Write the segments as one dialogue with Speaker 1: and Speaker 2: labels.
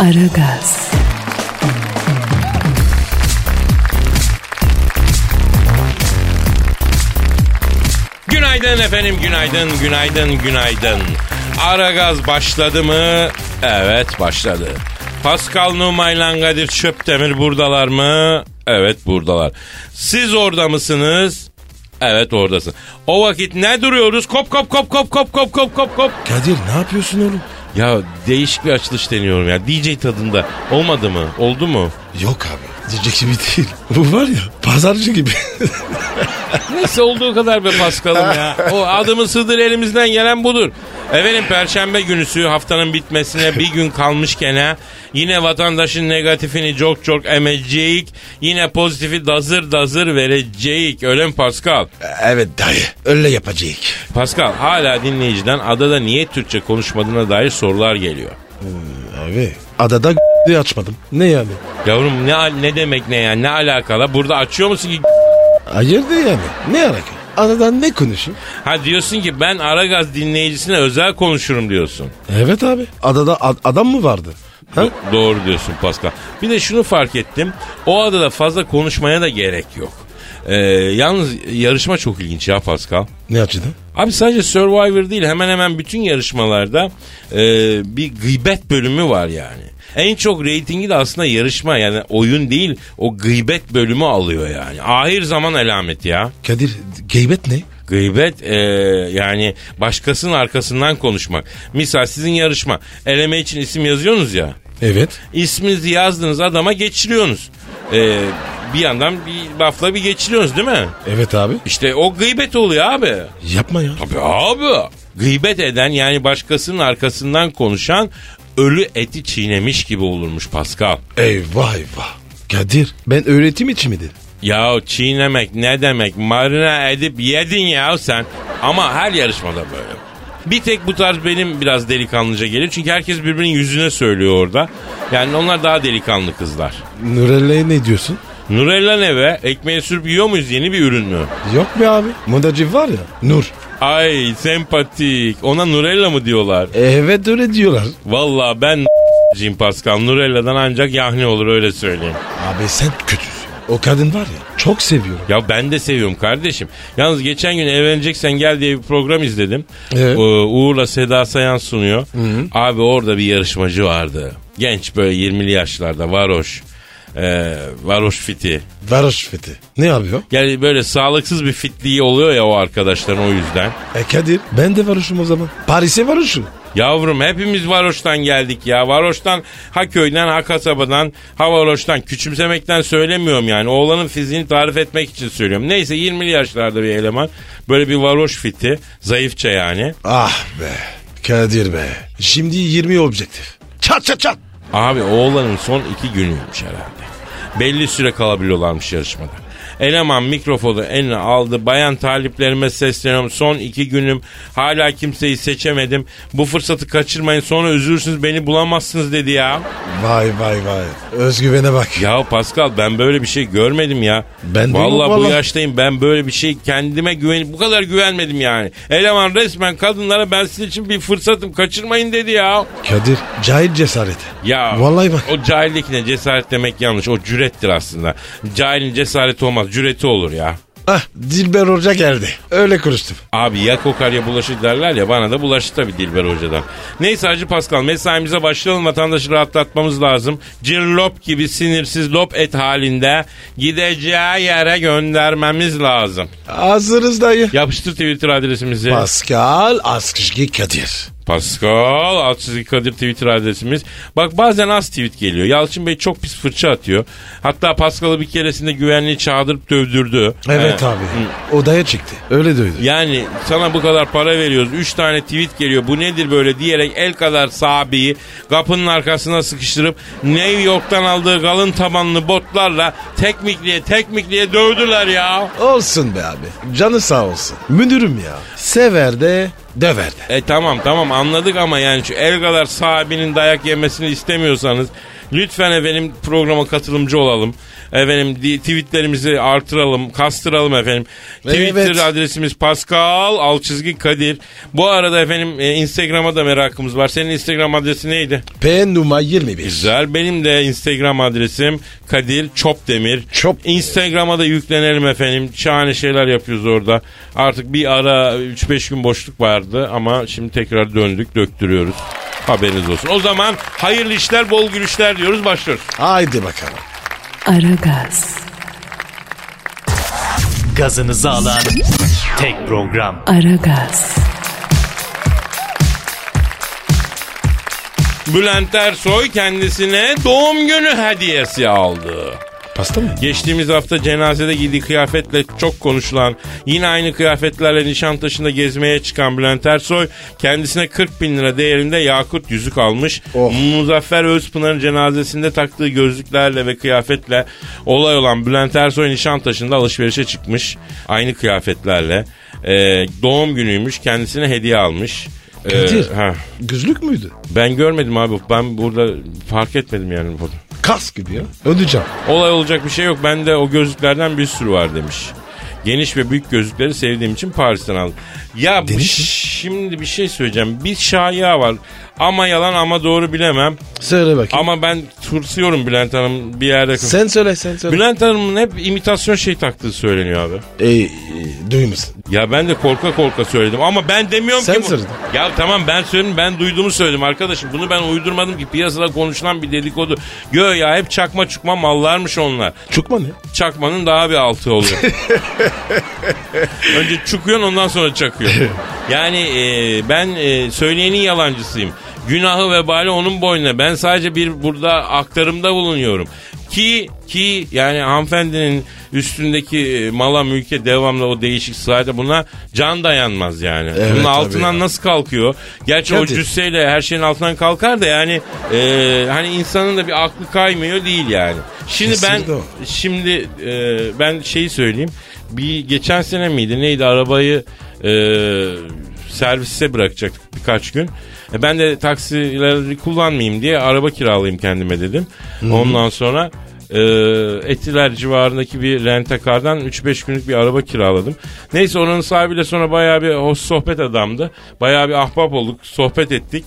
Speaker 1: Aragaz,
Speaker 2: Günaydın efendim, günaydın, günaydın, günaydın. Ara gaz başladı mı? Evet başladı. Pascal Numa ile Kadir Çöptemir buradalar mı? Evet buradalar. Siz orada mısınız? Evet oradasın. O vakit ne duruyoruz? Kop kop kop kop kop kop kop kop kop.
Speaker 3: Kadir ne yapıyorsun oğlum?
Speaker 2: Ya değişik bir açılış deniyorum ya. DJ tadında. Olmadı mı? Oldu mu?
Speaker 3: Yok abi. Diyecek gibi değil. Bu var ya pazarcı gibi.
Speaker 2: Neyse olduğu kadar be Paskal'ım ya. O adımı sığdır elimizden gelen budur. Efendim perşembe günüsü haftanın bitmesine bir gün kalmışken ha, yine vatandaşın negatifini çok çok emecek. Yine pozitifi dazır dazır verecek. Öyle mi Paskal?
Speaker 3: evet dayı. Öyle yapacak.
Speaker 2: Paskal hala dinleyiciden adada niye Türkçe konuşmadığına dair sorular geliyor.
Speaker 3: Abi. Adada diye açmadım. Ne yani?
Speaker 2: Yavrum ne ne demek ne yani ne alakalı? Burada açıyor musun ki
Speaker 3: Hayır değil yani. Ne alaka? Adadan ne konuşayım?
Speaker 2: Ha diyorsun ki ben Aragaz dinleyicisine özel konuşurum diyorsun.
Speaker 3: Evet abi. Adada ad- adam mı vardı? Ha?
Speaker 2: Do- Doğru diyorsun Pascal. Bir de şunu fark ettim. O adada fazla konuşmaya da gerek yok. Ee, yalnız yarışma çok ilginç ya Pascal.
Speaker 3: Ne açıdan?
Speaker 2: Abi sadece Survivor değil hemen hemen bütün yarışmalarda e, bir gıybet bölümü var yani. En çok reytingi de aslında yarışma yani oyun değil o gıybet bölümü alıyor yani. Ahir zaman alameti ya.
Speaker 3: Kadir geybet ne?
Speaker 2: Gıybet e, yani başkasının arkasından konuşmak. Misal sizin yarışma eleme için isim yazıyorsunuz ya.
Speaker 3: Evet.
Speaker 2: İsminizi yazdığınız adama geçiriyorsunuz. Ee, bir yandan bir lafla bir geçiriyorsunuz değil mi?
Speaker 3: Evet abi.
Speaker 2: İşte o gıybet oluyor abi.
Speaker 3: Yapma ya.
Speaker 2: Tabii abi. Gıybet eden yani başkasının arkasından konuşan ölü eti çiğnemiş gibi olurmuş Pascal.
Speaker 3: Eyvah eyvah. Kadir ben öğretim için miydi?
Speaker 2: Ya çiğnemek ne demek marine edip yedin ya sen. Ama her yarışmada böyle. Bir tek bu tarz benim biraz delikanlıca geliyor. Çünkü herkes birbirinin yüzüne söylüyor orada. Yani onlar daha delikanlı kızlar.
Speaker 3: Nurelle'ye ne diyorsun?
Speaker 2: Nurella ne be? Ekmeğe sürüp yiyor muyuz yeni bir ürün mü?
Speaker 3: Yok be abi. Modacı var ya. Nur.
Speaker 2: Ay sempatik. Ona Nurella mı diyorlar?
Speaker 3: Evet öyle diyorlar.
Speaker 2: Valla ben Jim Pascal Nurella'dan ancak yahni olur öyle söyleyeyim.
Speaker 3: Abi sen kötüsün. O kadın var ya çok seviyorum.
Speaker 2: Ya ben de seviyorum kardeşim. Yalnız geçen gün Evleneceksen Gel diye bir program izledim.
Speaker 3: Evet.
Speaker 2: Ee, Uğur'la Seda Sayan sunuyor. Abi orada bir yarışmacı vardı. Genç böyle 20'li yaşlarda varoş. Ee, varoş fiti.
Speaker 3: Varoş fethi. Ne yapıyor?
Speaker 2: Yani böyle sağlıksız bir fitliği oluyor ya o arkadaşların o yüzden.
Speaker 3: E Kadir ben de varoşum o zaman. Paris'e varoşum.
Speaker 2: Yavrum hepimiz varoştan geldik ya. Varoştan, ha köyden, ha kasabadan, ha varoştan. Küçümsemekten söylemiyorum yani. Oğlanın fiziğini tarif etmek için söylüyorum. Neyse 20'li yaşlarda bir eleman. Böyle bir varoş fiti. Zayıfça yani.
Speaker 3: Ah be Kadir be. Şimdi 20 objektif. Çat çat çat.
Speaker 2: Abi oğlanın son iki günüymüş herhalde. Belli süre kalabiliyorlarmış yarışmada. Eleman mikrofonu eline aldı. Bayan taliplerime sesleniyorum. Son iki günüm hala kimseyi seçemedim. Bu fırsatı kaçırmayın sonra üzülürsünüz beni bulamazsınız dedi ya.
Speaker 3: Vay vay vay. Özgüvene bak.
Speaker 2: Ya Pascal ben böyle bir şey görmedim ya.
Speaker 3: Ben de
Speaker 2: Vallahi
Speaker 3: yok
Speaker 2: bu
Speaker 3: vallahi.
Speaker 2: yaştayım ben böyle bir şey kendime güven bu kadar güvenmedim yani. Eleman resmen kadınlara ben sizin için bir fırsatım kaçırmayın dedi ya.
Speaker 3: Kadir cahil cesareti.
Speaker 2: Ya
Speaker 3: Vallahi bak.
Speaker 2: o cahillikine cesaret demek yanlış. O cürettir aslında. Cahilin cesareti olmaz. Cüreti olur ya.
Speaker 3: Ah Dilber Hoca geldi. Öyle konuştum.
Speaker 2: Abi ya kokar ya bulaşır derler ya bana da bulaştı tabii Dilber Hoca'dan. Neyse Hacı Pascal mesaimize başlayalım vatandaşı rahatlatmamız lazım. Cillop gibi sinirsiz lop et halinde gideceği yere göndermemiz lazım.
Speaker 3: Hazırız dayı.
Speaker 2: Yapıştır Twitter adresimizi.
Speaker 3: Pascal Askışgi Kadir.
Speaker 2: Pascal Altçizgi Kadir Twitter adresimiz. Bak bazen az tweet geliyor. Yalçın Bey çok pis fırça atıyor. Hatta Pascal'ı bir keresinde güvenliği çağdırıp dövdürdü.
Speaker 3: Evet
Speaker 2: He.
Speaker 3: abi. Odaya çıktı. Öyle duydu.
Speaker 2: Yani sana bu kadar para veriyoruz. Üç tane tweet geliyor. Bu nedir böyle diyerek el kadar sabiyi kapının arkasına sıkıştırıp New York'tan aldığı kalın tabanlı botlarla tekmikliye tekmikliye dövdüler ya.
Speaker 3: Olsun be abi. Canı sağ olsun. Müdürüm ya. Sever de döver de.
Speaker 2: E tamam tamam anladık ama yani şu el kadar sahibinin dayak yemesini istemiyorsanız lütfen efendim programa katılımcı olalım. Efendim di- tweetlerimizi artıralım, kastıralım efendim.
Speaker 3: Evet.
Speaker 2: Twitter adresimiz Pascal Alçızgi Kadir. Bu arada efendim e, Instagram'a da merakımız var. Senin Instagram adresi neydi?
Speaker 3: P numara 21.
Speaker 2: Güzel. Benim de Instagram adresim Kadir Çopdemir.
Speaker 3: Çop-
Speaker 2: Instagram'a da yüklenelim efendim. Şahane şeyler yapıyoruz orada. Artık bir ara 3-5 gün boşluk vardı ama şimdi tekrar döndük, döktürüyoruz. Haberiniz olsun. O zaman hayırlı işler, bol gülüşler diyoruz. Başlıyoruz.
Speaker 3: Haydi bakalım.
Speaker 1: Aragaz,
Speaker 4: Gazınızı alan tek program.
Speaker 1: Aragaz,
Speaker 2: Bülent Ersoy kendisine doğum günü hediyesi aldı.
Speaker 3: Pasta mı?
Speaker 2: Geçtiğimiz hafta cenazede giydiği kıyafetle çok konuşulan, yine aynı kıyafetlerle Nişantaşı'nda gezmeye çıkan Bülent Ersoy kendisine 40 bin lira değerinde yakut yüzük almış.
Speaker 3: Oh.
Speaker 2: Muzaffer Özpınar'ın cenazesinde taktığı gözlüklerle ve kıyafetle olay olan Bülent Ersoy Nişantaşı'nda alışverişe çıkmış. Aynı kıyafetlerle. Ee, doğum günüymüş kendisine hediye almış. Ee,
Speaker 3: Kadir.
Speaker 2: ha.
Speaker 3: Gözlük müydü?
Speaker 2: Ben görmedim abi ben burada fark etmedim yani bunu.
Speaker 3: Kas gibi ya. Önü cam.
Speaker 2: Olay olacak bir şey yok. Bende o gözlüklerden bir sürü var demiş. Geniş ve büyük gözlükleri sevdiğim için Paris'ten aldım. Ya bu
Speaker 3: Demiş mi?
Speaker 2: şimdi bir şey söyleyeceğim. Bir şaya var. Ama yalan ama doğru bilemem.
Speaker 3: Söyle bakayım.
Speaker 2: Ama ben tırsıyorum Bülent Hanım bir yerde.
Speaker 3: Sen söyle sen söyle.
Speaker 2: Bülent Hanım'ın hep imitasyon şey taktığı söyleniyor abi.
Speaker 3: Ey, e, duymuşsun.
Speaker 2: Ya ben de korka korka söyledim ama ben demiyorum
Speaker 3: Sen
Speaker 2: ki. bu-
Speaker 3: söyledin.
Speaker 2: Ya tamam ben söyledim ben duyduğumu söyledim arkadaşım. Bunu ben uydurmadım ki piyasada konuşulan bir dedikodu. Gö ya hep çakma çukma mallarmış onlar.
Speaker 3: Çukma ne?
Speaker 2: çakmanın daha bir altı oluyor. Önce çukuyorsun ondan sonra çakıyorsun. Yani e, ben e, söyleyenin yalancısıyım. Günahı vebali onun boynuna. Ben sadece bir burada aktarımda bulunuyorum. Ki ki yani hanımefendinin üstündeki e, mala mülke devamlı o değişik sırayla buna can dayanmaz yani.
Speaker 3: Evet,
Speaker 2: Bunun
Speaker 3: tabii
Speaker 2: altından
Speaker 3: ya.
Speaker 2: nasıl kalkıyor? Gerçi o
Speaker 3: Kadir.
Speaker 2: cüsseyle her şeyin altından kalkar da yani e, hani insanın da bir aklı kaymıyor değil yani. Şimdi ben
Speaker 3: Kesinlikle o.
Speaker 2: Şimdi e, ben şeyi söyleyeyim. Bir geçen sene miydi neydi arabayı e, servise bırakacaktık birkaç gün. E, ben de taksileri kullanmayayım diye araba kiralayayım kendime dedim. Ondan sonra e, Etiler civarındaki bir rentakardan 3-5 günlük bir araba kiraladım. Neyse onun sahibiyle sonra bayağı bir hoş sohbet adamdı. Bayağı bir ahbap olduk, sohbet ettik.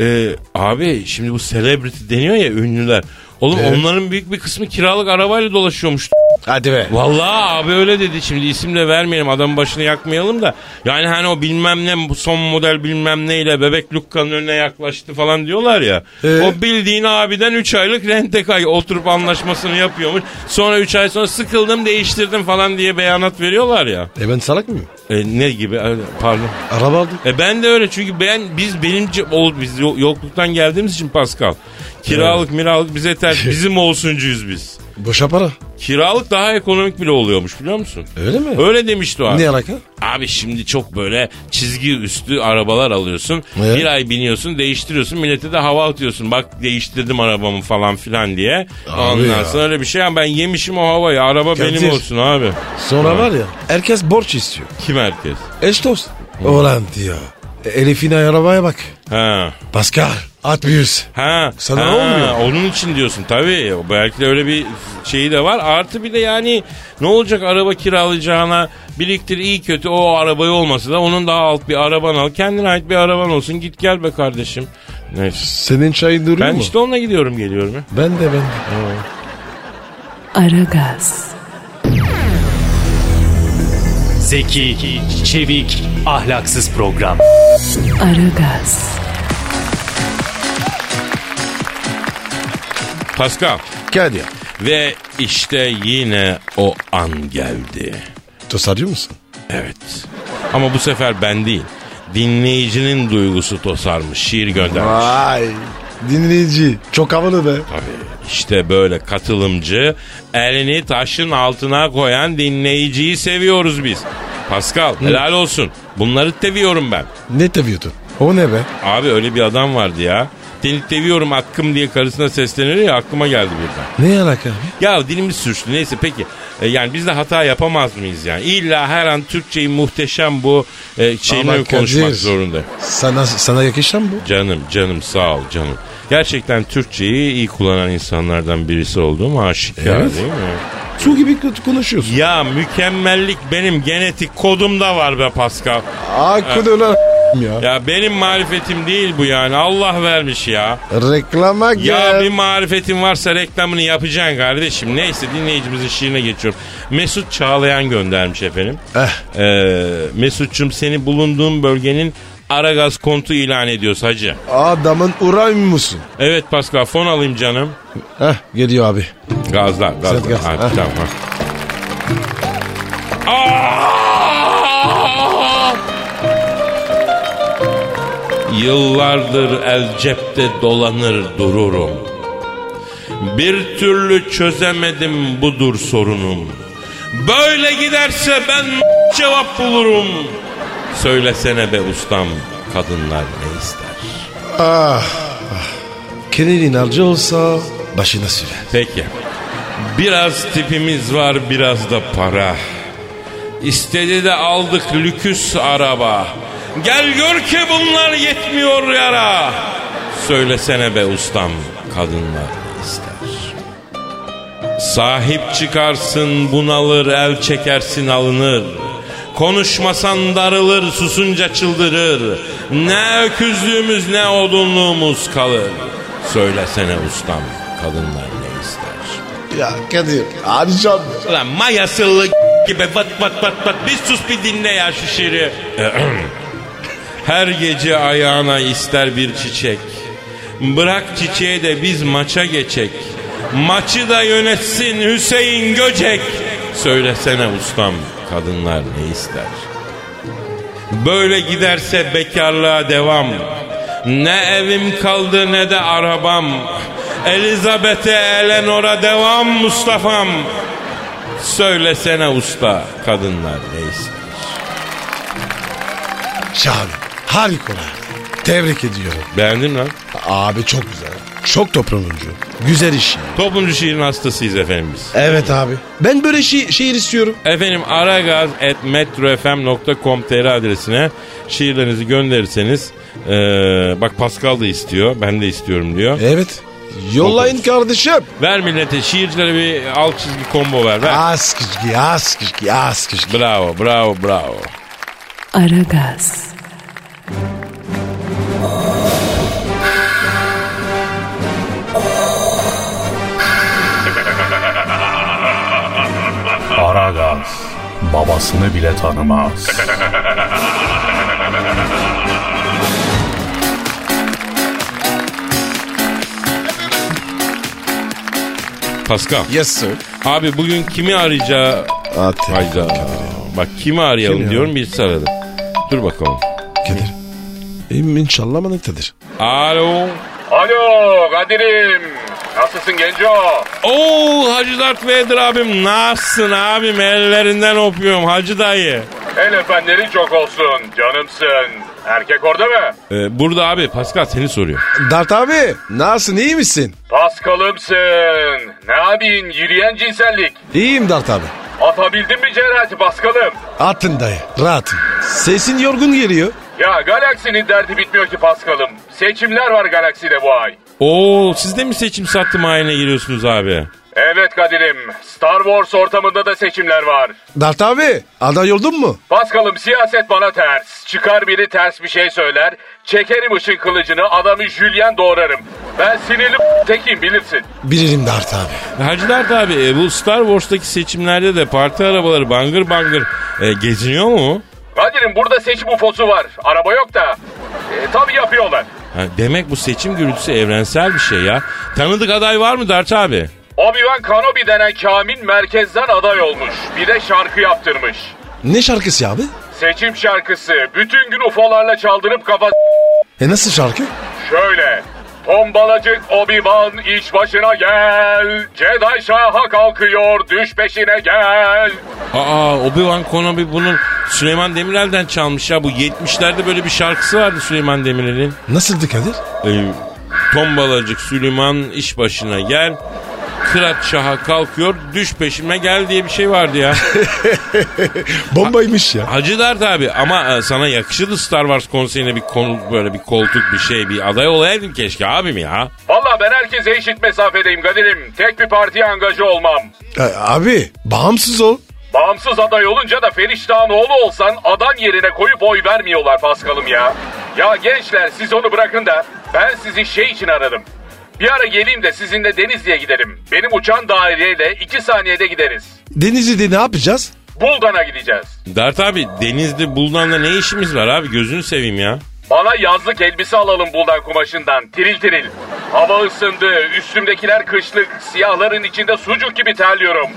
Speaker 2: E, abi şimdi bu celebrity deniyor ya ünlüler. Oğlum
Speaker 3: Evet.
Speaker 2: Bunların büyük bir kısmı kiralık arabayla dolaşıyormuş.
Speaker 3: Hadi be.
Speaker 2: Vallahi abi öyle dedi şimdi isim de vermeyelim adamın başını yakmayalım da. Yani hani o bilmem ne bu son model bilmem neyle bebek Lukka'nın önüne yaklaştı falan diyorlar ya.
Speaker 3: Ee?
Speaker 2: O bildiğin abiden 3 aylık rentekay oturup anlaşmasını yapıyormuş. Sonra 3 ay sonra sıkıldım değiştirdim falan diye beyanat veriyorlar ya.
Speaker 3: E ben salak mıyım?
Speaker 2: E, ne gibi E, pardon.
Speaker 3: Araba aldım.
Speaker 2: E ben de öyle çünkü ben biz benim ce- ol biz yo- yokluktan geldiğimiz için Pascal. Kiralık miralık bize ters bizim olsuncuyuz biz.
Speaker 3: Boşa para.
Speaker 2: Kiralık daha ekonomik bile oluyormuş biliyor musun?
Speaker 3: Öyle mi?
Speaker 2: Öyle demişti o abi.
Speaker 3: Ne alaka?
Speaker 2: Abi şimdi çok böyle çizgi üstü arabalar alıyorsun.
Speaker 3: Evet.
Speaker 2: Bir ay biniyorsun değiştiriyorsun millete de hava atıyorsun. Bak değiştirdim arabamı falan filan diye.
Speaker 3: Abi
Speaker 2: Ondan
Speaker 3: ya.
Speaker 2: sonra öyle bir şey ama ben yemişim o havayı. Araba benim
Speaker 3: Kadir.
Speaker 2: olsun abi.
Speaker 3: Sonra var ya herkes borç istiyor.
Speaker 2: Kim herkes?
Speaker 3: Eş dost. Olan diyor. E, Elif'in arabaya bak.
Speaker 2: Ha.
Speaker 3: Pascal at bir yüz.
Speaker 2: Ha.
Speaker 3: Sana
Speaker 2: ha,
Speaker 3: olmuyor.
Speaker 2: Onun için diyorsun tabii. Belki de öyle bir şeyi de var. Artı bir de yani ne olacak araba kiralayacağına biriktir iyi kötü o arabayı olmasa da onun daha alt bir araban al. Kendine ait bir araban olsun. Git gel be kardeşim. Neyse.
Speaker 3: Senin çayın duruyor
Speaker 2: Ben
Speaker 3: mu?
Speaker 2: işte onunla gidiyorum geliyorum. ya.
Speaker 3: Ben de ben de.
Speaker 1: Aragaz,
Speaker 4: Zeki, çevik, ahlaksız program.
Speaker 1: Aragaz,
Speaker 2: Pascal
Speaker 3: Kadir.
Speaker 2: ve işte yine o an geldi.
Speaker 3: Tosarcı mısın?
Speaker 2: Evet. Ama bu sefer ben değil. Dinleyicinin duygusu tosarmış. Şiir göndermiş.
Speaker 3: Vay. Dinleyici. Çok havalı be.
Speaker 2: İşte böyle katılımcı, elini taşın altına koyan dinleyiciyi seviyoruz biz. Pascal helal olsun. Bunları seviyorum ben.
Speaker 3: Ne teviyordun? O ne be?
Speaker 2: Abi öyle bir adam vardı ya. Seni seviyorum hakkım diye karısına seslenir ya aklıma geldi birden.
Speaker 3: Ne alaka abi?
Speaker 2: Ya dilimiz sürçtü neyse peki. E, yani biz de hata yapamaz mıyız yani? İlla her an Türkçeyi muhteşem bu e, şeyini
Speaker 3: Ama Kadir-
Speaker 2: konuşmak zorunda.
Speaker 3: Sana, sana yakışan bu.
Speaker 2: Canım canım sağ ol canım. Gerçekten Türkçeyi iyi kullanan insanlardan birisi olduğum aşikar
Speaker 3: Evet.
Speaker 2: değil mi?
Speaker 3: Su gibi kötü konuşuyorsun.
Speaker 2: Ya mükemmellik benim genetik kodumda var be Pascal.
Speaker 3: Aa kodolar ya.
Speaker 2: Ya benim marifetim değil bu yani Allah vermiş ya.
Speaker 3: Reklama gel.
Speaker 2: Ya bir marifetin varsa reklamını yapacaksın kardeşim. Neyse dinleyicimizin şiirine geçiyorum. Mesut Çağlayan göndermiş efendim.
Speaker 3: Eh.
Speaker 2: Ee, Mesut'cum seni bulunduğun bölgenin Aragaz kontu ilan ediyoruz hacı.
Speaker 3: Adamın uranyum musun?
Speaker 2: Evet Pascal fon alayım canım.
Speaker 3: Heh geliyor abi.
Speaker 2: Gazla gazla.
Speaker 3: Sen gaz,
Speaker 2: Hadi
Speaker 3: ha.
Speaker 2: tamam. Ah! ha. Aa! Yıllardır el cepte dolanır dururum. Bir türlü çözemedim budur sorunum. Böyle giderse ben cevap bulurum. Söylesene be ustam kadınlar ne ister?
Speaker 3: Ah. Kenenin harcı olsa başına sürer.
Speaker 2: Peki. Biraz tipimiz var biraz da para. İstedi de aldık lüküs araba. Gel gör ki bunlar yetmiyor yara. Söylesene be ustam kadınlar ne ister. Sahip çıkarsın bunalır el çekersin alınır. Konuşmasan darılır susunca çıldırır. Ne öküzlüğümüz ne odunluğumuz kalır. Söylesene ustam kadınlar ne ister.
Speaker 3: Ya Kadir harcam.
Speaker 2: Ulan mayasıllı gibi vat vat vat vat bir sus bir dinle ya şu şiiri. Her gece ayağına ister bir çiçek. Bırak çiçeğe de biz maça geçek. Maçı da yönetsin Hüseyin Göcek. Söylesene ustam kadınlar ne ister? Böyle giderse bekarlığa devam. Ne evim kaldı ne de arabam. Elizabeth'e Eleanor'a devam Mustafa'm. Söylesene usta kadınlar ne ister?
Speaker 3: Şahane. Harikola. Tebrik ediyorum.
Speaker 2: Beğendin mi lan?
Speaker 3: Abi çok güzel. Çok toplumcu. Güzel iş. yani.
Speaker 2: Toplumcu şiirin hastasıyız efendim biz.
Speaker 3: Evet abi. Ben böyle şi- şiir istiyorum.
Speaker 2: Efendim aragaz.metrofm.com.tr adresine şiirlerinizi gönderirseniz eee, bak Pascal da istiyor ben de istiyorum diyor.
Speaker 3: Evet. Yollayın kardeşim.
Speaker 2: Ver millete şiircilere bir alt çizgi combo ver. ver.
Speaker 3: Az kışkı, az kışkı, az kışkı.
Speaker 2: Bravo bravo bravo.
Speaker 1: Aragaz,
Speaker 5: Aragaz babasını bile tanımaz.
Speaker 2: Pascal
Speaker 3: Yes sir.
Speaker 2: abi bugün kimi arayacağı
Speaker 3: Hadi.
Speaker 2: hayda. Bak kimi arayalım
Speaker 3: Kim ya?
Speaker 2: diyorum birisi aradı. Dur bakalım.
Speaker 3: Kadir. İm- İnşallah manıktadır.
Speaker 2: Alo.
Speaker 6: Alo Kadir'im. Nasılsın Genco?
Speaker 2: Oo Hacı Dert Vader abim nasılsın abim ellerinden öpüyorum Hacı dayı.
Speaker 6: El öpenlerin çok olsun. Canımsın. Erkek orada mı?
Speaker 2: Ee, burada abi Pascal seni soruyor.
Speaker 3: Dart abi nasılsın iyi misin?
Speaker 6: Paskalımsın. Ne yapayım yürüyen cinsellik.
Speaker 3: İyiyim Dart abi.
Speaker 6: Atabildin mi cerrahati Paskal'ım?
Speaker 3: Atın dayı rahatım. Sesin yorgun geliyor.
Speaker 6: Ya galaksinin derdi bitmiyor ki Paskal'ım. Seçimler var galakside bu ay.
Speaker 2: Oo siz de mi seçim sattım haline giriyorsunuz abi?
Speaker 6: Evet Kadir'im. Star Wars ortamında da seçimler var.
Speaker 3: Dart abi aday oldun mu?
Speaker 6: Paskal'ım siyaset bana ters. Çıkar biri ters bir şey söyler. Çekerim ışın kılıcını adamı Julian doğrarım. Ben sinirli tekim bilirsin.
Speaker 3: Bilirim Dart abi.
Speaker 2: Hacı Dert abi e, bu Star Wars'taki seçimlerde de parti arabaları bangır bangır e, geziniyor mu?
Speaker 6: Kadir'im burada seçim ufosu var. Araba yok da. E, tabii yapıyorlar.
Speaker 2: Ha, demek bu seçim gürültüsü evrensel bir şey ya. Tanıdık aday var mı Dert abi?
Speaker 6: Obi-Wan Kenobi denen Kamil merkezden aday olmuş. Bir de şarkı yaptırmış.
Speaker 3: Ne şarkısı abi?
Speaker 6: Seçim şarkısı bütün gün ufolarla çaldırıp kafa...
Speaker 3: E nasıl şarkı?
Speaker 6: Şöyle. Tombalacık Obi-Wan iş başına gel. Jedi Şah'a kalkıyor düş peşine gel.
Speaker 2: Aa Obi-Wan Kenobi bunun Süleyman Demirel'den çalmış ya. Bu 70'lerde böyle bir şarkısı vardı Süleyman Demirel'in.
Speaker 3: Nasıldı Kadir?
Speaker 2: Ee, tombalacık Süleyman iş başına gel. Kırat Şah'a kalkıyor düş peşime gel diye bir şey vardı ya.
Speaker 3: Bombaymış ya.
Speaker 2: Hacı Dert abi ama e, sana yakışırdı Star Wars konserine bir konuk böyle bir koltuk bir şey bir aday olaydın keşke abim ya.
Speaker 6: Valla ben herkese eşit mesafedeyim Kadir'im. Tek bir partiye angajı olmam.
Speaker 3: E, abi bağımsız ol.
Speaker 6: Bağımsız aday olunca da Feriştah'ın oğlu olsan adam yerine koyup oy vermiyorlar Paskal'ım ya. Ya gençler siz onu bırakın da ben sizi şey için aradım. Bir ara geleyim de sizinle Denizli'ye gidelim. Benim uçan daireyle iki saniyede gideriz.
Speaker 3: Denizli'de ne yapacağız?
Speaker 6: Buldan'a gideceğiz.
Speaker 2: Dert abi Denizli Buldan'da ne işimiz var abi gözünü seveyim ya.
Speaker 6: Bana yazlık elbise alalım Buldan kumaşından. Tiril tiril. Hava ısındı. Üstümdekiler kışlık. Siyahların içinde sucuk gibi terliyorum.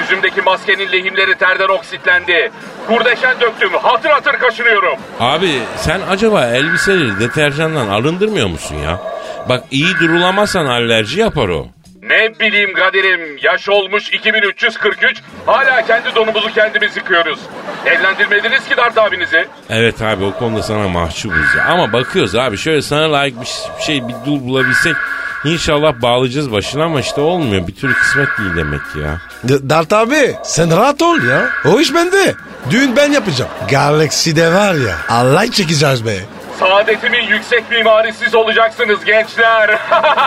Speaker 6: Yüzümdeki maskenin lehimleri terden oksitlendi. Kurdeşen döktüm. Hatır hatır kaşınıyorum.
Speaker 2: Abi sen acaba elbiseleri deterjandan arındırmıyor musun ya? Bak iyi durulamazsan alerji yapar o.
Speaker 6: Ne bileyim Kadir'im yaş olmuş 2343 hala kendi donumuzu kendimiz yıkıyoruz. Evlendirmediniz ki Dart abinizi.
Speaker 2: Evet abi o konuda sana mahcubuz ya. Ama bakıyoruz abi şöyle sana layık bir ş- şey bir dul bulabilsek inşallah bağlayacağız başına ama işte olmuyor. Bir türlü kısmet değil demek ki ya.
Speaker 3: D- Dert abi sen rahat ol ya. O iş bende. Düğün ben yapacağım. Galaxy'de var ya. Allah çekeceğiz be.
Speaker 6: Saadetimin yüksek mimari siz olacaksınız gençler.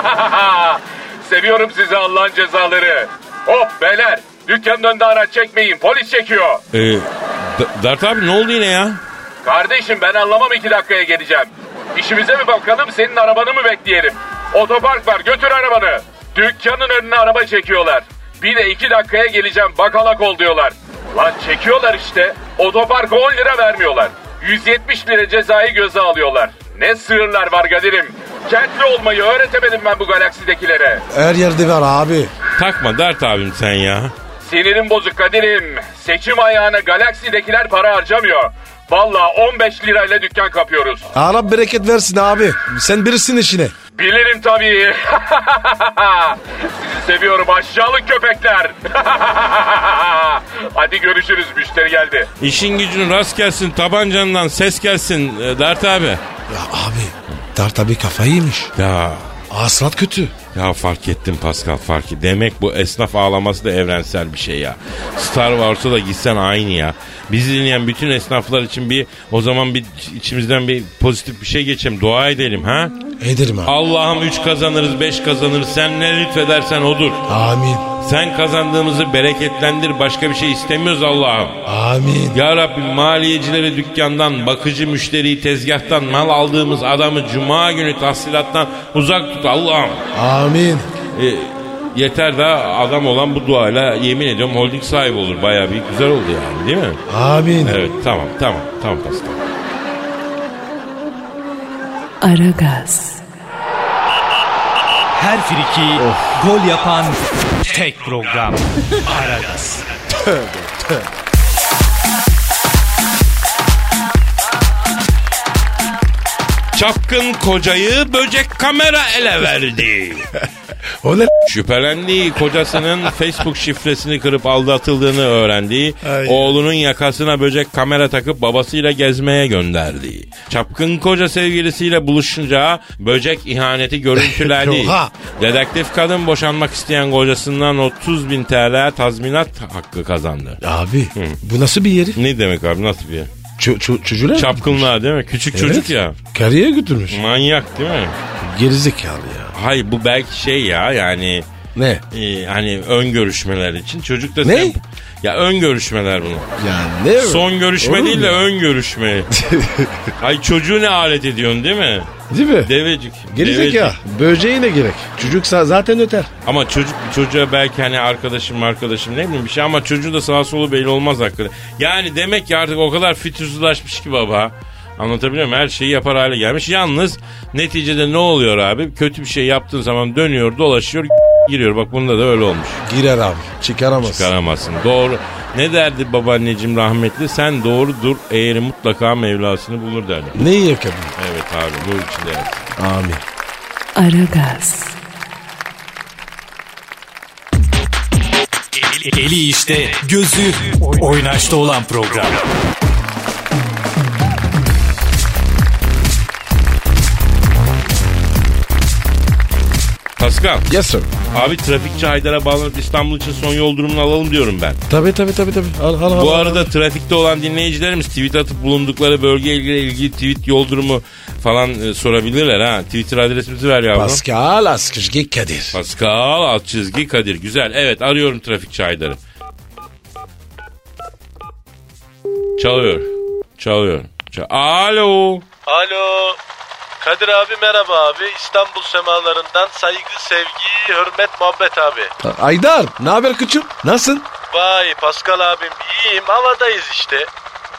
Speaker 6: Seviyorum sizi Allah'ın cezaları. Hop beyler dükkanın önünde araç çekmeyin polis çekiyor.
Speaker 2: Ee, D- Dert abi ne oldu yine ya?
Speaker 6: Kardeşim ben anlamam iki dakikaya geleceğim. İşimize mi bakalım senin arabanı mı bekleyelim? Otopark var götür arabanı. Dükkanın önüne araba çekiyorlar. Bir de iki dakikaya geleceğim bakalak ol diyorlar. Lan çekiyorlar işte. Otoparka 10 lira vermiyorlar. 170 lira cezayı göze alıyorlar. Ne sığırlar var Kadir'im. Kentli olmayı öğretemedim ben bu galaksidekilere.
Speaker 3: Her yerde var abi.
Speaker 2: Takma Dert abim sen ya.
Speaker 6: Sinirim bozuk Kadir'im. Seçim ayağına galaksidekiler para harcamıyor. Valla 15 lirayla dükkan kapıyoruz.
Speaker 3: Allah bereket versin abi. Sen birisin işine.
Speaker 6: Bilirim tabii. Sizi seviyorum aşağılık köpekler. Hadi görüşürüz müşteri geldi.
Speaker 2: İşin gücün rast gelsin tabancandan ses gelsin e, Dert abi.
Speaker 3: Ya abi Dert abi kafayı yemiş.
Speaker 2: Ya
Speaker 3: Aslat kötü.
Speaker 2: Ya fark ettim Pascal farkı. Demek bu esnaf ağlaması da evrensel bir şey ya. Star Wars'a da gitsen aynı ya. Bizi dinleyen bütün esnaflar için bir o zaman bir içimizden bir pozitif bir şey geçelim. Dua edelim ha.
Speaker 3: Ederim abi.
Speaker 2: Allah'ım 3 kazanırız 5 kazanırız. Sen ne lütfedersen odur.
Speaker 3: Amin.
Speaker 2: Sen kazandığımızı bereketlendir. Başka bir şey istemiyoruz Allah'ım.
Speaker 3: Amin.
Speaker 2: Ya Rabbi maliyecileri dükkandan, bakıcı müşteriyi tezgahtan, mal aldığımız adamı cuma günü tahsilattan uzak tut Allah'ım.
Speaker 3: Amin.
Speaker 2: E, yeter daha adam olan bu duayla yemin ediyorum holding sahibi olur. Bayağı bir güzel oldu yani değil mi?
Speaker 3: Amin.
Speaker 2: Evet tamam tamam tamam Pascal.
Speaker 1: Aragaz,
Speaker 4: Her friki gol yapan tek program. Aragaz.
Speaker 2: Çapkın kocayı böcek kamera ele verdi.
Speaker 3: O ne?
Speaker 2: Şüphelendiği kocasının Facebook şifresini kırıp aldatıldığını öğrendiği,
Speaker 3: Ay.
Speaker 2: oğlunun yakasına böcek kamera takıp babasıyla gezmeye gönderdiği, çapkın koca sevgilisiyle buluşunca böcek ihaneti görüntüledi.
Speaker 3: Oha.
Speaker 2: Dedektif kadın boşanmak isteyen kocasından 30 bin TL tazminat hakkı kazandı.
Speaker 3: Abi bu nasıl bir yeri?
Speaker 2: Ne demek abi nasıl bir
Speaker 3: Ço- ço- çocuğuna
Speaker 2: Çapkınlar değil mi? Küçük çocuk ya.
Speaker 3: Karıya götürmüş.
Speaker 2: Manyak değil mi?
Speaker 3: Gerizekalı ya.
Speaker 2: Hayır bu belki şey ya yani
Speaker 3: Ne?
Speaker 2: e, hani ön görüşmeler için. Çocuk da
Speaker 3: Ne?
Speaker 2: sen- Ya ön görüşmeler bunlar.
Speaker 3: Yani ne?
Speaker 2: Son görüşme
Speaker 3: Olur
Speaker 2: değil
Speaker 3: mu?
Speaker 2: de ön görüşme. Ay çocuğu ne alet ediyorsun değil mi?
Speaker 3: Değil mi?
Speaker 2: Devecik.
Speaker 3: Gerizekalı.
Speaker 2: devecik.
Speaker 3: Böceğe ne gerek? Çocuk za- zaten öter.
Speaker 2: Ama çocuk çocuğa belki hani arkadaşım arkadaşım ne bileyim bir şey ama çocuğu da sağa solu belli olmaz hakikaten. Yani demek ki artık o kadar fütursuzlaşmış ki baba. Anlatabiliyor muyum? Her şeyi yapar hale gelmiş. Yalnız neticede ne oluyor abi? Kötü bir şey yaptığın zaman dönüyor, dolaşıyor, giriyor. Bak bunda da öyle olmuş.
Speaker 3: Girer abi. Çıkaramaz.
Speaker 2: Çıkaramazsın. Doğru. Ne derdi babaanneciğim rahmetli? Sen doğru dur eğri mutlaka Mevlasını bulur derdi.
Speaker 3: Neyi yakabilir?
Speaker 2: Evet abi bu içinde yat.
Speaker 3: Amin.
Speaker 1: Aragaz,
Speaker 7: Eli, eli işte, gözü oynaşta olan program.
Speaker 2: Pascal
Speaker 3: Yes sir.
Speaker 2: abi trafikçi Haydar'a bağlanıp İstanbul için son yol durumunu alalım diyorum ben.
Speaker 3: Tabii tabii tabii. tabii. Al, al, al,
Speaker 2: Bu
Speaker 3: al.
Speaker 2: arada trafikte olan dinleyicilerimiz tweet atıp bulundukları bölge ilgili ilgili tweet yol durumu falan e, sorabilirler ha. Twitter adresimizi ver yavrum.
Speaker 3: Pascal Askışgi Kadir.
Speaker 2: Pascal alt çizgi Kadir. Güzel. Evet arıyorum trafikçi Haydar'ı. Çalıyor. Çalıyor. Çal- Alo.
Speaker 6: Alo. Kadir abi merhaba abi. İstanbul semalarından saygı, sevgi, hürmet, muhabbet abi.
Speaker 3: A- Aydar ne haber küçük? Nasılsın?
Speaker 6: Vay Pascal abim iyiyim havadayız işte.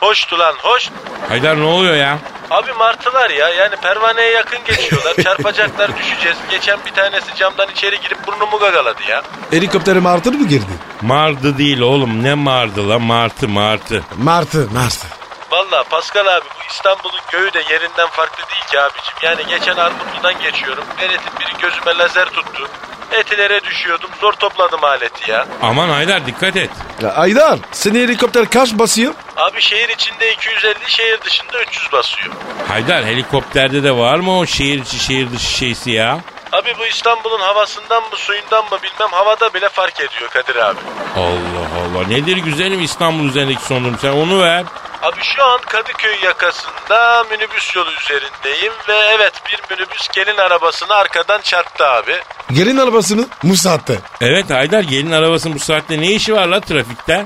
Speaker 6: Hoştu lan hoş.
Speaker 2: Haydar ne oluyor ya?
Speaker 6: Abi martılar ya yani pervaneye yakın geçiyorlar. Çarpacaklar düşeceğiz. Geçen bir tanesi camdan içeri girip burnumu gagaladı ya.
Speaker 3: Helikopterim artır mı girdi?
Speaker 2: Mardı değil oğlum. Ne mardı la? Martı martı.
Speaker 3: Martı, Martı.
Speaker 6: Valla Pascal abi bu İstanbul'un göğü de yerinden farklı değil ki abicim. Yani geçen Armutlu'dan geçiyorum. Beretin biri gözüme lazer tuttu. Etilere düşüyordum zor topladım aleti ya.
Speaker 2: Aman Haydar dikkat et.
Speaker 3: Ya Aydar seni helikopter kaç basıyor?
Speaker 6: Abi şehir içinde 250 şehir dışında 300 basıyor.
Speaker 2: Haydar helikopterde de var mı o şehir içi şehir dışı şeysi ya?
Speaker 6: Abi bu İstanbul'un havasından mı suyundan mı bilmem havada bile fark ediyor Kadir abi.
Speaker 2: Allah Allah. Nedir güzelim İstanbul üzerindeki son durum? Sen onu ver.
Speaker 6: Abi şu an Kadıköy yakasında minibüs yolu üzerindeyim ve evet bir minibüs gelin arabasını arkadan çarptı abi.
Speaker 3: Gelin arabasını bu saatte.
Speaker 2: Evet Haydar gelin arabasının bu saatte ne işi var la trafikte?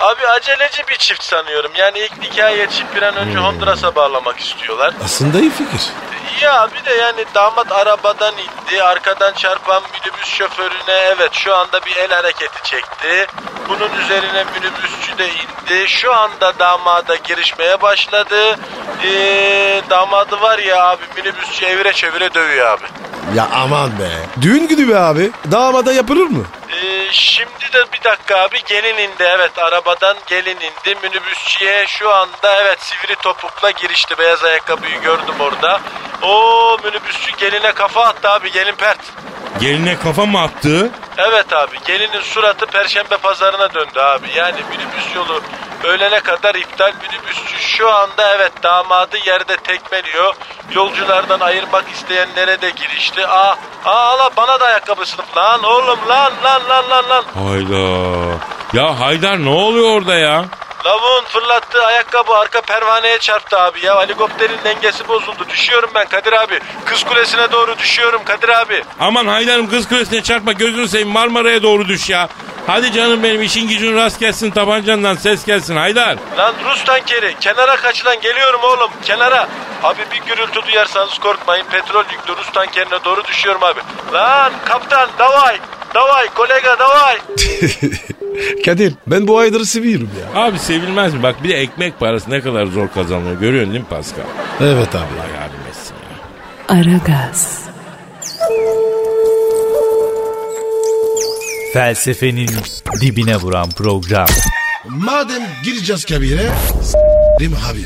Speaker 6: Abi aceleci bir çift sanıyorum. Yani ilk nikah yetişip bir an önce Honduras'a bağlamak istiyorlar.
Speaker 3: Aslında iyi fikir.
Speaker 6: Ya abi de yani damat arabadan indi. Arkadan çarpan minibüs şoförüne evet şu anda bir el hareketi çekti. Bunun üzerine minibüsçü de indi. Şu anda damada girişmeye başladı. Ee, damadı var ya abi minibüsçü evire çevire dövüyor abi.
Speaker 3: Ya aman be. Düğün günü be abi. Damada yapılır mı?
Speaker 6: Ee, şimdi de bir dakika abi gelin indi evet arabadan gelin indi minibüsçüye şu anda evet sivri topukla girişti beyaz ayakkabıyı gördüm orada. O minibüsçü geline kafa attı abi gelin pert.
Speaker 2: Geline kafa mı attı?
Speaker 6: Evet abi gelinin suratı perşembe pazarına döndü abi yani minibüs yolu öğlene kadar iptal minibüsçü şu anda evet damadı yerde tekmeliyor yolculardan ayırmak isteyenlere de girişti aa aa ala bana da ayakkabısını lan oğlum lan lan lan lan lan
Speaker 2: Hayda. Ya Haydar ne oluyor orada ya?
Speaker 6: Lavuğun fırlattığı ayakkabı arka pervaneye çarptı abi ya. Helikopterin dengesi bozuldu. Düşüyorum ben Kadir abi. Kız kulesine doğru düşüyorum Kadir abi.
Speaker 2: Aman Haydar'ım kız kulesine çarpma gözünü seveyim Marmara'ya doğru düş ya. Hadi canım benim işin gücün rast gelsin tabancandan ses gelsin Haydar.
Speaker 6: Lan Rus tankeri kenara kaç lan geliyorum oğlum kenara. Abi bir gürültü duyarsanız korkmayın. Petrol yüklü Rus tankerine doğru düşüyorum abi. Lan kaptan davay. Davay kolega davay.
Speaker 3: Kadir ben bu Aydar'ı seviyorum ya.
Speaker 2: Abi sevilmez mi? Bak bir de ekmek parası ne kadar zor kazanılıyor görüyorsun değil mi Pascal?
Speaker 3: Evet abi.
Speaker 2: Ay yardım etsin ya.
Speaker 1: Aragaz,
Speaker 7: Felsefenin dibine vuran program.
Speaker 3: Madem gireceğiz kabire. Rim abi.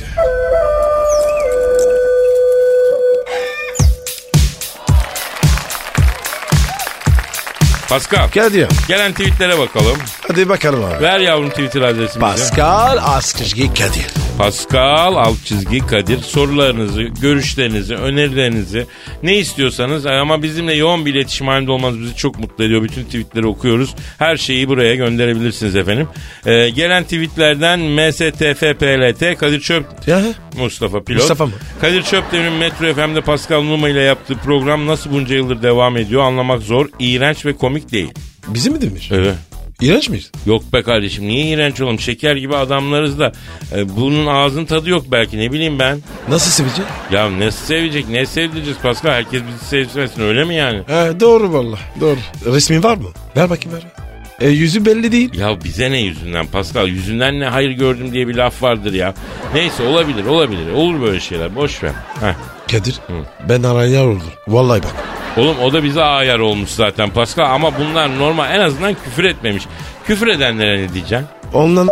Speaker 2: Pascal
Speaker 3: Kadir.
Speaker 2: gelen tweetlere bakalım.
Speaker 3: Hadi bakalım abi.
Speaker 2: Ver yavrum Twitter adresimizi.
Speaker 3: Pascal Askışgi Kadir.
Speaker 2: Pascal alt çizgi Kadir sorularınızı, görüşlerinizi, önerilerinizi ne istiyorsanız ama bizimle yoğun bir iletişim halinde olmanız bizi çok mutlu ediyor. Bütün tweetleri okuyoruz. Her şeyi buraya gönderebilirsiniz efendim. Ee, gelen tweetlerden mstfplt Kadir Çöp
Speaker 3: Ya.
Speaker 2: Mustafa Pilot.
Speaker 3: Mustafa mı?
Speaker 2: Kadir Çöpdemir'in Metro FM'de Pascal Numa ile yaptığı program nasıl bunca yıldır devam ediyor anlamak zor. İğrenç ve komik değil.
Speaker 3: Bizi mi demiş?
Speaker 2: Evet.
Speaker 3: İğrenç miyiz?
Speaker 2: Yok be kardeşim niye iğrenç oğlum şeker gibi adamlarız da e, bunun ağzın tadı yok belki ne bileyim ben.
Speaker 3: Nasıl sevecek?
Speaker 2: Ya ne sevecek ne sevdireceğiz Pascal herkes bizi sevmesin öyle mi yani?
Speaker 3: He, doğru valla doğru. Resmin var mı? Ver bakayım ver. E, yüzü belli değil.
Speaker 2: Ya bize ne yüzünden Pascal yüzünden ne hayır gördüm diye bir laf vardır ya. Neyse olabilir olabilir olur böyle şeyler boş ver. Heh.
Speaker 3: Kadir ben arayan oldum. Vallahi bak.
Speaker 2: Oğlum o da bize ayar olmuş zaten Pascal ama bunlar normal en azından küfür etmemiş. Küfür edenlere ne diyeceksin?
Speaker 8: Ondan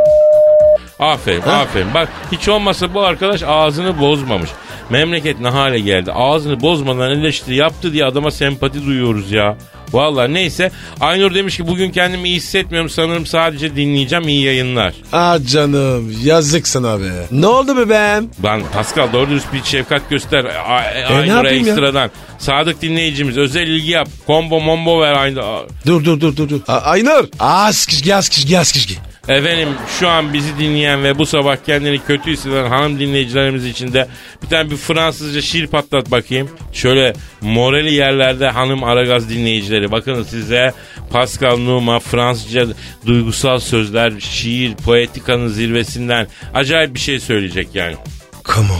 Speaker 2: Aferin aferin. Bak hiç olmasa bu arkadaş ağzını bozmamış. Memleket ne hale geldi. Ağzını bozmadan eleştiri yaptı diye adama sempati duyuyoruz ya. Vallahi neyse. Aynur demiş ki bugün kendimi iyi hissetmiyorum. Sanırım sadece dinleyeceğim iyi yayınlar.
Speaker 8: Ah canım yazık sana be. Ne oldu bebeğim?
Speaker 2: Lan Pascal doğru dürüst bir şefkat göster. A- A- Aynur'a
Speaker 8: E, yapayım ya?
Speaker 2: ekstradan. Sadık dinleyicimiz özel ilgi yap. Kombo mombo ver Aynur.
Speaker 8: Dur dur dur dur. dur. A- Aynur. Az kişki az kişki az kişki.
Speaker 2: Efendim şu an bizi dinleyen ve bu sabah kendini kötü hisseden hanım dinleyicilerimiz için de bir tane bir Fransızca şiir patlat bakayım. Şöyle morali yerlerde hanım Aragaz dinleyicileri. Bakın size Pascal Numa Fransızca duygusal sözler, şiir, poetikanın zirvesinden acayip bir şey söyleyecek yani.
Speaker 8: Comment,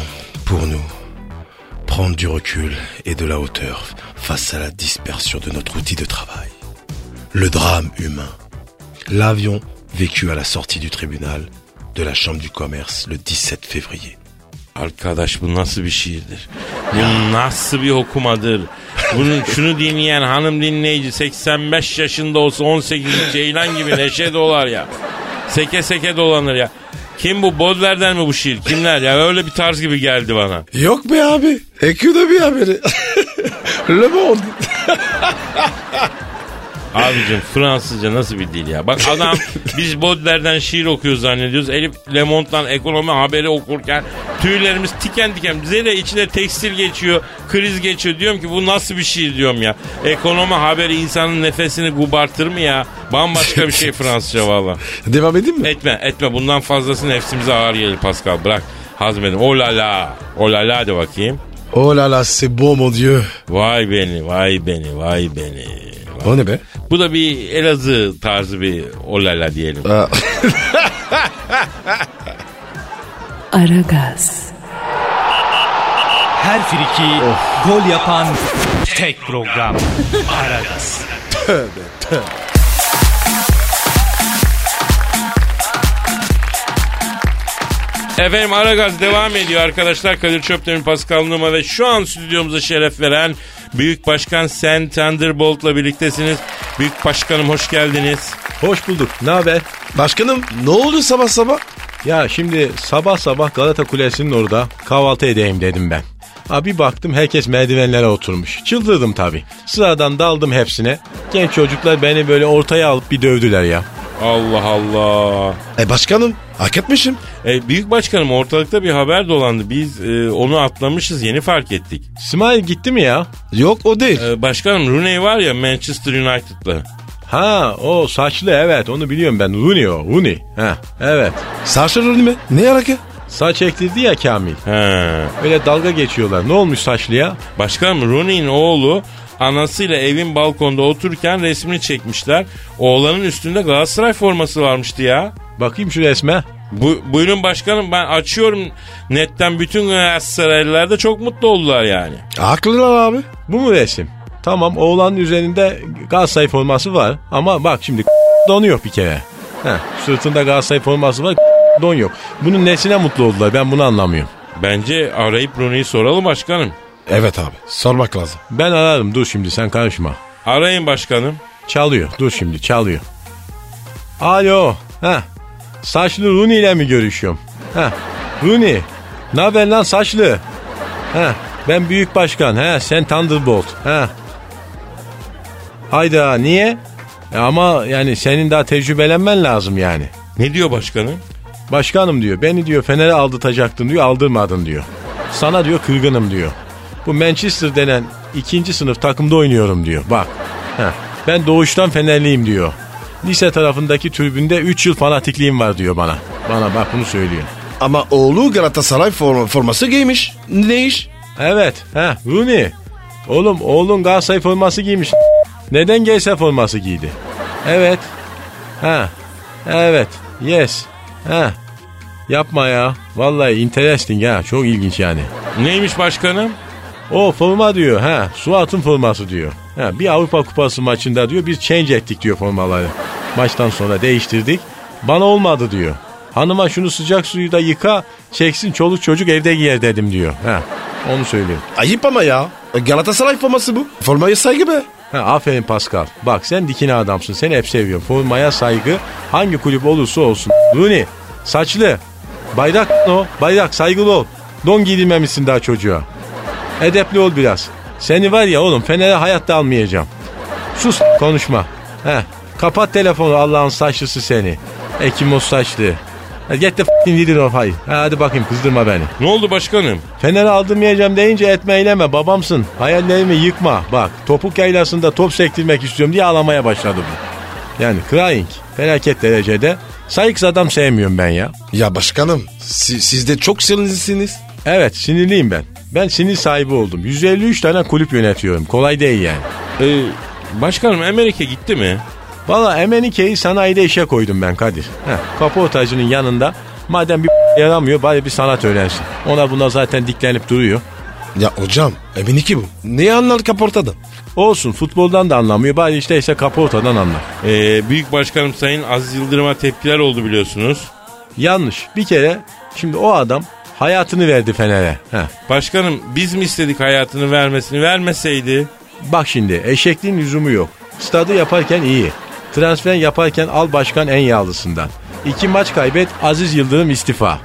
Speaker 8: pour nous, prendre du recul et de la hauteur face à la dispersion de notre outil de travail Le drame humain. L'avion vécu à la sortie du tribunal de la Chambre du commerce le 17 février.
Speaker 2: Arkadaş bu nasıl bir şiirdir? Bu nasıl bir okumadır? Bunu, şunu dinleyen hanım dinleyici 85 yaşında olsa 18 ceylan gibi neşe dolar ya. Seke seke dolanır ya. Kim bu? Bodler'den mi bu şiir? Kimler ya? Öyle bir tarz gibi geldi bana.
Speaker 8: Yok be abi. EQ'da bir haberi. Le Monde.
Speaker 2: Abicim Fransızca nasıl bir dil ya? Bak adam biz Bodler'den şiir okuyor zannediyoruz. Elif Lemont'tan ekonomi haberi okurken tüylerimiz tiken tiken. Bize de içine tekstil geçiyor, kriz geçiyor. Diyorum ki bu nasıl bir şiir diyorum ya. Ekonomi haberi insanın nefesini gubartır mı ya? Bambaşka bir şey Fransızca valla.
Speaker 8: Devam edeyim mi?
Speaker 2: Etme etme bundan fazlası nefsimize ağır gelir Pascal bırak. Hazmedin. Oh la la. Oh la la de bakayım.
Speaker 8: Oh là là, c'est beau mon dieu.
Speaker 2: Vay beni, vay beni, vay beni. Vay
Speaker 8: O ne be?
Speaker 2: bu da bir Elazığ tarzı bir olala diyelim.
Speaker 8: Ah.
Speaker 1: Aragaz,
Speaker 7: Her friki gol yapan tek program. Aragaz.
Speaker 2: Efendim Aragaz devam ediyor arkadaşlar. Kadir Çöptemir, Pascal Numa ve şu an stüdyomuza şeref veren Büyük Başkan Sen Thunderbolt'la birliktesiniz. Büyük Başkanım hoş geldiniz.
Speaker 3: Hoş bulduk. Ne haber?
Speaker 8: Başkanım ne oldu sabah sabah?
Speaker 3: Ya şimdi sabah sabah Galata Kulesi'nin orada kahvaltı edeyim dedim ben. Ha bir baktım herkes merdivenlere oturmuş. Çıldırdım tabii. Sıradan daldım hepsine. Genç çocuklar beni böyle ortaya alıp bir dövdüler ya.
Speaker 2: Allah Allah.
Speaker 8: E başkanım hak etmişim.
Speaker 2: E, Büyük Başkanım ortalıkta bir haber dolandı. Biz e, onu atlamışız yeni fark ettik.
Speaker 3: İsmail gitti mi ya?
Speaker 8: Yok o değil.
Speaker 2: E, başkanım Rooney var ya Manchester United'la.
Speaker 3: Ha o saçlı evet onu biliyorum ben. Rooney o Rooney. Ha evet.
Speaker 8: Sarşar Rulli mi? Ne alaka?
Speaker 3: Saç ektirdi ya Kamil.
Speaker 2: He.
Speaker 3: Öyle dalga geçiyorlar. Ne olmuş saçlıya?
Speaker 2: Başkanım Rooney'in oğlu anasıyla evin balkonda otururken resmini çekmişler. Oğlanın üstünde Galatasaray forması varmıştı ya.
Speaker 3: Bakayım şu resme.
Speaker 2: Bu, buyurun başkanım ben açıyorum netten bütün Galatasaraylılar da çok mutlu oldular yani.
Speaker 8: Haklılar abi.
Speaker 3: Bu mu resim? Tamam oğlanın üzerinde Galatasaray forması var ama bak şimdi don yok bir kere. Heh, sırtında Galatasaray forması var don yok. Bunun nesine mutlu oldular ben bunu anlamıyorum.
Speaker 2: Bence arayıp Rooney'i soralım başkanım.
Speaker 8: Evet abi sormak lazım.
Speaker 3: Ben ararım dur şimdi sen karışma.
Speaker 2: Arayın başkanım.
Speaker 3: Çalıyor dur şimdi çalıyor. Alo. Heh. Saçlı Runi ile mi görüşüyorum? Heh. Runi. Ne haber lan saçlı? Heh. Ben büyük başkan. He sen Thunderbolt. Heh. Hayda niye? E ama yani senin daha tecrübelenmen lazım yani.
Speaker 2: Ne diyor başkanım?
Speaker 3: Başkanım diyor beni diyor Fener'e aldırtacaktın diyor aldırmadın diyor. Sana diyor kırgınım diyor. Bu Manchester denen ikinci sınıf takımda oynuyorum diyor. Bak heh, ben doğuştan Fenerliyim diyor. Lise tarafındaki tribünde 3 yıl fanatikliğim var diyor bana. Bana bak bunu söylüyor.
Speaker 8: Ama oğlu Galatasaray form- forması giymiş. Ne iş?
Speaker 3: Evet ha Rooney. Oğlum oğlun Galatasaray forması giymiş. Neden GS forması giydi? Evet. Ha. Evet. Yes. Ha. Yapma ya. Vallahi interesting ha. Çok ilginç yani.
Speaker 2: Neymiş başkanım?
Speaker 3: O forma diyor ha. Suat'ın forması diyor. Ha, bir Avrupa Kupası maçında diyor biz change ettik diyor formaları. Maçtan sonra değiştirdik. Bana olmadı diyor. Hanıma şunu sıcak suyu da yıka çeksin çoluk çocuk evde giyer dedim diyor. Ha, onu söylüyor.
Speaker 8: E, Ayıp ama ya. Galatasaray forması bu. Formaya saygı be.
Speaker 3: Ha, aferin Pascal. Bak sen dikine adamsın. Seni hep seviyorum. Formaya saygı hangi kulüp olursa olsun. Rooney saçlı. Bayrak o. Bayrak saygılı ol. Don giydirmemişsin daha çocuğa. Edepli ol biraz. Seni var ya oğlum Fener'e hayatta almayacağım. Sus konuşma. Heh, kapat telefonu Allah'ın saçlısı seni. Ekimos saçlı. Ha, Get the f***ing leader of high. Ha, hadi bakayım kızdırma beni.
Speaker 2: Ne oldu başkanım?
Speaker 3: Fener'e aldırmayacağım deyince etme eyleme babamsın. Hayallerimi yıkma. Bak topuk yaylasında top sektirmek istiyorum diye ağlamaya başladı bu. Yani crying felaket derecede. Sayıksız adam sevmiyorum ben ya.
Speaker 9: Ya başkanım si- siz de çok sinirlisiniz.
Speaker 3: Evet sinirliyim ben. Ben sinir sahibi oldum. 153 tane kulüp yönetiyorum. Kolay değil yani.
Speaker 2: Ee, başkanım Amerika gitti mi?
Speaker 3: Valla Emenike'yi sanayide işe koydum ben Kadir. Heh, kaportacının yanında madem bir yaramıyor bari bir sanat öğrensin. Ona buna zaten diklenip duruyor.
Speaker 9: Ya hocam emin ki bu. Ne anlar kaportadan?
Speaker 3: Olsun futboldan da anlamıyor bari işteyse kaportadan anlar.
Speaker 2: Ee, Büyük Başkanım Sayın Aziz Yıldırım'a tepkiler oldu biliyorsunuz.
Speaker 3: Yanlış. Bir kere şimdi o adam hayatını verdi Fener'e. Heh.
Speaker 2: Başkanım biz mi istedik hayatını vermesini vermeseydi?
Speaker 3: Bak şimdi eşekliğin lüzumu yok. Stadı yaparken iyi. Transfer yaparken al başkan en yağlısından. İki maç kaybet Aziz Yıldırım istifa.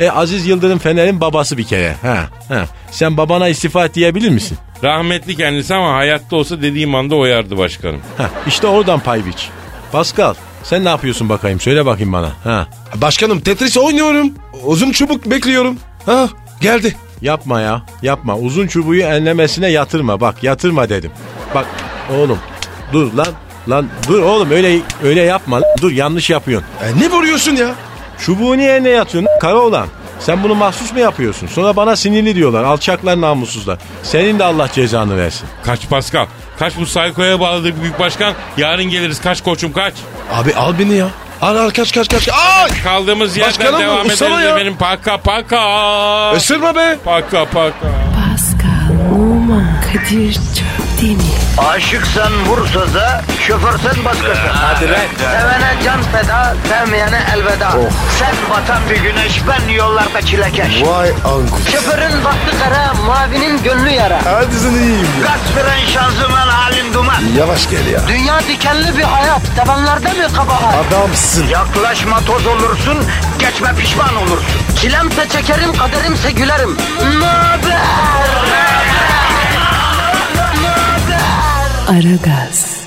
Speaker 3: E Aziz Yıldırım Fener'in babası bir kere. Ha, ha. Sen babana istifa et diyebilir misin?
Speaker 2: Rahmetli kendisi ama hayatta olsa dediğim anda oyardı başkanım.
Speaker 3: Ha, işte oradan pay biç. Pascal sen ne yapıyorsun bakayım söyle bakayım bana. Ha.
Speaker 9: Başkanım Tetris oynuyorum. Uzun çubuk bekliyorum. Ha geldi.
Speaker 3: Yapma ya yapma uzun çubuğu enlemesine yatırma bak yatırma dedim. Bak oğlum dur lan lan dur oğlum öyle öyle yapma lan. dur yanlış yapıyorsun.
Speaker 9: E, ne vuruyorsun ya?
Speaker 3: Çubuğu niye ne yatıyorsun kara olan? Sen bunu mahsus mu yapıyorsun? Sonra bana sinirli diyorlar. Alçaklar namussuzlar. Senin de Allah cezanı versin.
Speaker 2: Kaç Pascal. Kaç bu saykoya bağladı büyük başkan. Yarın geliriz kaç koçum kaç.
Speaker 9: Abi al beni ya. Al al kaç kaç kaç. Ay!
Speaker 2: Kaldığımız yerden
Speaker 9: Başkanım,
Speaker 2: devam ederiz
Speaker 9: ustama ya.
Speaker 2: efendim. Paka paka.
Speaker 9: Isırma be.
Speaker 2: Paka paka.
Speaker 1: Pascal, Oman, Kadir çok değil mi?
Speaker 10: Aşıksan vursa da, şoförsen başkasın. Hadi lan. Oh. Sevene can feda, sevmeyene elveda. Sen batan bir güneş, ben yollarda çilekeş.
Speaker 9: Vay anku.
Speaker 10: Şoförün baktı kara, mavinin gönlü yara.
Speaker 9: Hadi sen iyiyim ya.
Speaker 10: Kasperen şanzıman halin duman.
Speaker 9: Yavaş gel ya.
Speaker 10: Dünya dikenli bir hayat, sevenlerde mi kabahar?
Speaker 9: Adamsın.
Speaker 10: Yaklaşma toz olursun, geçme pişman olursun. Çilemse çekerim, kaderimse gülerim. Möber!
Speaker 1: Aragaz.